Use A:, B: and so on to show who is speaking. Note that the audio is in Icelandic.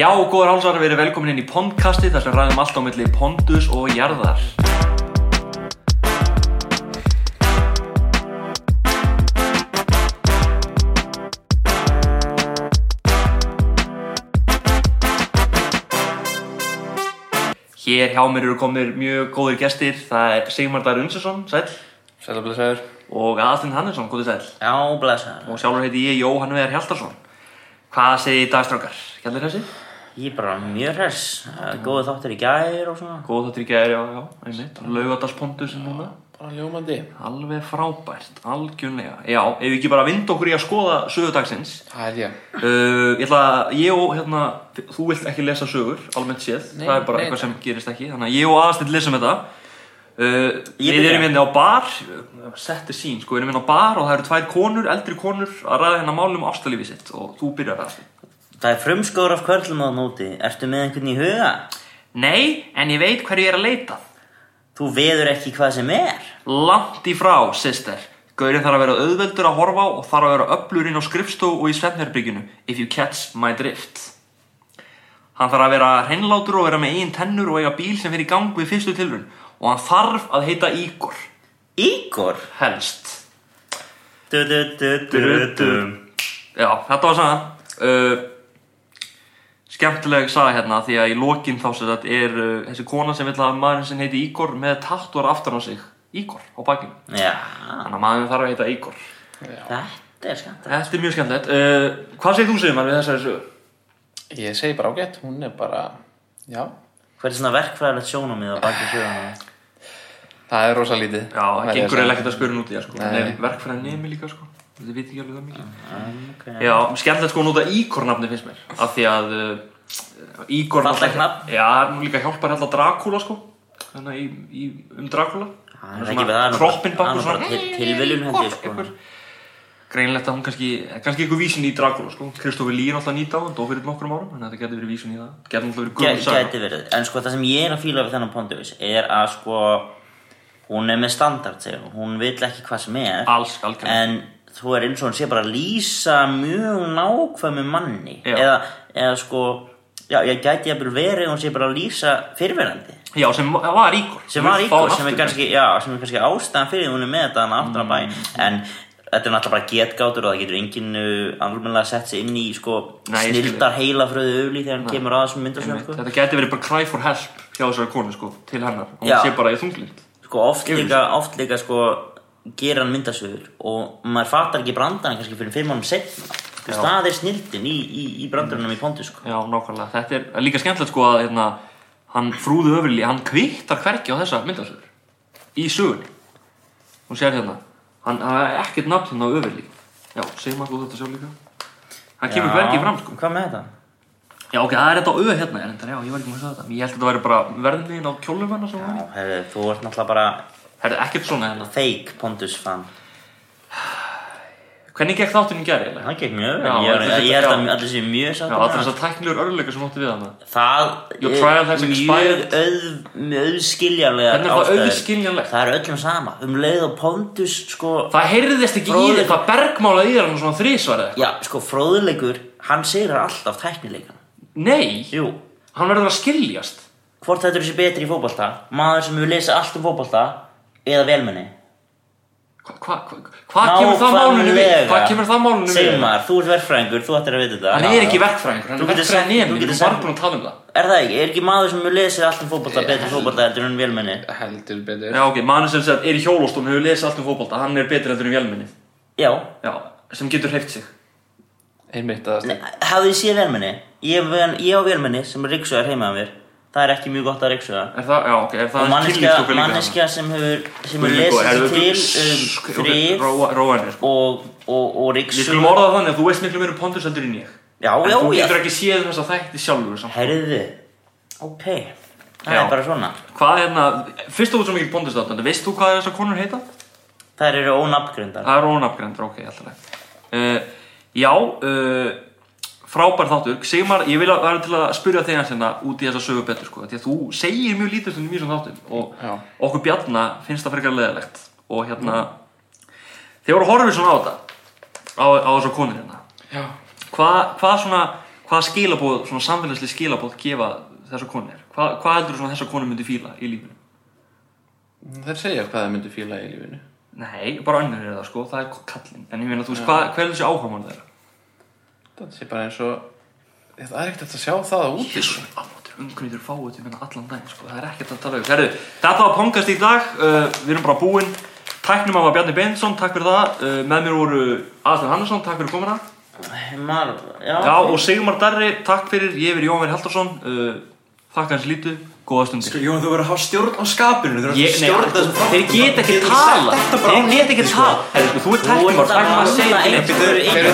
A: Já, góður hálsar, við erum velkomin inn í Pondkasti þar sem ræðum allt á milli Pondus og Jarðar. Hér hjá mér eru komnir mjög góðir gestir, það er Sigmar Dær Unsersson, sæll,
B: Sælablessaður
A: og Aðalsteinn Hannesson, góði sæll.
B: Já, blessaður
A: Og sjálfur heiti ég Jóhann Vegar Hjaltarsson. Hvað segir dagstrákar? Gjallir þessi?
B: Ég er bara mjög hress Það er Góðu þáttir í gær og svona
A: Góð þáttur í gæri, já, já, einmitt. Laugadalspondus er núna.
C: Bara ljómandi.
A: Alveg frábært, algjörlega. Já, ef við ekki bara vind okkur í að skoða sögudagsins.
C: Það er ég.
A: Uh, ég ætla að, ég og, hérna, þú vilt ekki lesa sögur, almennt séð.
C: Nei,
A: það er bara
C: nei,
A: eitthvað
C: nei.
A: sem gerist ekki. Þannig að ég og aðstill lesum þetta. Uh, við
B: byrja.
A: erum hérna á bar, setti sín, sko, við erum hérna á bar og það eru tvær konur, eldri konur, að ræða hérna málum ástalífi sitt og þú byrjar að
B: Það er frumskóður af kvörlum á nóti Ertu með einhvern í huga?
A: Nei, en ég veit hverju ég er að leita.
B: Þú veður ekki hvað sem er
A: Langt í frá, sister. Gaurinn þarf að vera auðveldur að horfa á og þarf að vera öflur inn á skrifstofu og í svefnherbyggjunu if you catch my drift. Hann þarf að vera hreinlátur og vera með eigin tennur og eiga bíl sem fer í gang við fyrstu tilrun og hann þarf að heita Ígor,
B: Ígor
A: helst.
B: du, du, du, du, du.
A: Já, þetta var sagan. Uh, skemmtileg saga hérna því að í lokin þá sem þetta er uh, þessi kona sem vil að maðurinn sem heiti Ígor með tattuar aftan á sig. Ígor á bakinu.
B: Já,
A: Þannig að maðurinn þarf að heita Ígor.
B: þetta er skant
A: Þetta er mjög skemmtilegt. Uh, hvað segir þú Sigmar við þessari sögu?
C: Ég segi bara ágætt, hún er bara, já,
B: Hvað er svona verkfræðilegt sjónamið á baki sjónamið?
C: það er rosa lítið.
A: Já, það gengur
C: er ég að
A: eiginlega
C: segja.
A: ekkert að spyrja út í það sko.
C: Nei.
A: Nei, verkfræðin nemi líka sko. Þetta veit ekki alveg það mikið.
B: Um, Okay.
A: Já, skemmtilegt sko að nota íkornafni finnst mér. Af því að uh, íkorn...
B: Fallegt nafn.
A: Já, hún líka hjálpar alltaf Dracula sko. Þannig að í, í, um Dracula.
B: Það er ekki við það er nú-
A: Kroppin
B: það er
A: bakku
B: nú bara
A: svona.
B: til- Tilviljun hendi sko
A: Greinilegt að hún kannski, kannski eitthvað vísin í Dracula sko. Kristofi Lee er alltaf nýtt á hann, dó fyrir nokkrum árum. Þannig að þetta getur verið vísin í það. Getur alltaf verið
B: Gæ-
A: guðum
B: Gæti verið, en sko það sem ég er að fíla við þennan Pontus er að sko hún er með standard segja, hún. hún vill ekki hvað sem er
A: Alls, algjörlega.
B: en þú er eins og hún sé bara að lýsa mjög nákvæmi manni
A: Já.
B: eða, eða sko já, ég gæti að verið hún sé bara að lýsa fyrirverandi
A: Já, sem var íkorn.
B: sem var íkó, sem er kannski, já, sem er kannski ástæðan fyrir því hún er með þetta hann aftur á bæ
A: Mm.
B: en þetta er náttúrulega bara getgátur og það getur enginn alveg sett sig inn í sko
A: Nei, ég skil þig.
B: snildar heilafröðu öfli þegar hann kemur að þessum myndasöfn
A: Einmitt.
B: sko.
A: Þetta geti verið bara cry for help hjá þessari konu sko, til hennar og hún
B: Já.
A: sé bara í þunglind
B: sko oft líka, oft líka sko gera hann myndasögur og maður fattar ekki brandana kannski fyrir fimm mánum setna Þú veist, það er snildin í, í, í brandarunum í Pontus sko
A: Já, nákvæmlega, þetta er líka skemmtilegt sko að hérna, hann frúðu öfurli, hann kvittar hvergi á þessa myndasögur í sögunni hún sér hérna, hann hann er ekkert nafn hérna á öfurli Já, segir maður þú þetta sjálf líka Hann kemur hvergi fram sko
B: Hvað með þetta?
A: Já, ok, það er þetta á öð hérna, er þetta, já, ég var ekki með að segja þetta Ég held að þetta væri bara verðin á kjólum hennar sem
B: Já,
A: var í.
B: herri, þú ert náttúrulega bara
A: Herðu, ekkert svona hérna
B: fake Pontus fan
A: Hvernig gekk þáttunum gerði, eiginlega?
B: Það gekk mjög vel,
A: Já,
B: ég,
A: þetta-
B: ég, ég held
A: já.
B: að allir séu mjög
A: Já,
B: sátt
A: allir þessar tæknilegur örleika sem áttu við hana
B: Það
A: Your trial has expired.
B: mjög auð, auðskiljanlega
A: Hvernig er það auðskiljanlegt?
B: Það er öllum sama, um leið og Pontus sko
A: Það heyrðist ekki í
B: Fróði-
A: þig, það bergmálað í þér hann svona þrísvarð
B: Já, sko fróðuleikur, hann segir alltaf tæknileikan
A: Nei,
B: Jú,
A: hann verður að skiljast
B: hvort þetta er sér betri í fótbolta maður sem hefur lesið allt um fótbolta eða velmenni
A: Hvað hva, hva, hva hvað kemur það málunum við? Hvað kemur það málunum við?
B: segir maður, þú ert verfræðingur, þú ættir að vita þetta
A: Hann er ekki verkfræðingur, hann
B: Þú
A: er
B: getur sagt-
A: verkfræðin
B: þú
A: nemi,
B: getur
A: við erum
B: sagt-
A: bara búin að tala um það
B: er það ekki, er ekki maður sem hefur lesið allt um fótbolta betri í fótbolta heldur en velmenni
C: Heldur betur.
A: Já ok, mann sem sagt, er í hjólóstum, hefur lesið allt um fótbolta, hann er betur heldur en vélminni
B: já,
A: Já, sem getur hreift sig
C: Einmitt að það.
B: hafðu þið séð velmenni ég, vel- ég og velmenni sem ríksugar heima að mér það er ekki mjög gott að ríksuga
A: Er það, já ok, er
B: og
A: það
B: manneskja,
A: kynlífstúka líka þarna?
B: manneskja sem hefur sem hefur
A: Guð minn góður,
B: lesið
A: herðu,
B: sig
A: sk-
B: til um
A: ok,
B: frið
A: róa- Róa henni, sko
B: og, og, og
A: Við
B: ríksuga
A: skulum orða það þannig að þú veist miklu meira um pondus heldur en ég
B: já,
A: En
B: já,
A: þú
B: já,
A: getur ekki séð þess að þætti sjálfur samt.
B: Herðu, ok, það
A: Já.
B: er bara svona.
A: Hvað er hérna, fyrst og þú ert svo mikil pondus þáttan, veist þú hvað þessar konur heita?
B: Það eru ónafngrindar.
A: Það er ónafgrendur, ok, alltaf uh, Já, uh, frábær þáttur Sigmar, ég vil að vera til að spyrja þig hans hérna út í þessa sögu betur sko. því að þú segir mjög lítið stundum í þessum þáttum og
C: Já.
A: okkur bjarna finnst það frekar leðilegt og hérna þegar voru horfið svona á þetta á, á þessu konur hérna
C: Já.
A: hvað hva svona Hvað skilabóð, svona samfélagslega skilabóð gefa þessar konur? Hva, hvað heldur þú svona þessar konur myndi fíla í lífinu?
C: Þeir segja hvað það myndi fíla í lífinu.
A: Nei, bara önnur er það sko, það er kallinn En ég meina, þú veist, hvað, hver er þessi áhugamann þeirra?
C: Það sé bara eins og... Það er ekkert hægt að sjá það á úti.
A: Jésu, ámáttur, umkvæmdur fáið til minna allan dag sko. Það er ekkert að tala um Herðu, þetta var Pongast í dag, uh, við erum bara búin Tæknum að var Bjarni Beinsson, takk fyrir það uh, Með mér voru Aðstur Hannesson, takk fyrir komuna
B: Mar, já,
A: Já, og Sigmar Darri, takk fyrir Ég er Jóhann Veri Haldarsson uh, Þakka hans lítið, góða stundir
D: Sko, Jón, þú verður að hafa stjórn á skapinu Þú verður
A: Ég, nei,
D: að stjórna þessum
A: þeir
D: þáttum.
A: geta ekki
D: Þú getur sett
A: tala
D: Þetta bara á
A: Þeir geta ekki
D: netið, sko.
A: tala Herðu, sko, þú er
B: Þú
A: tæknum að
B: ert að
D: um
A: tæknum að
B: ráða
A: segja
B: einhverju
D: Fyrir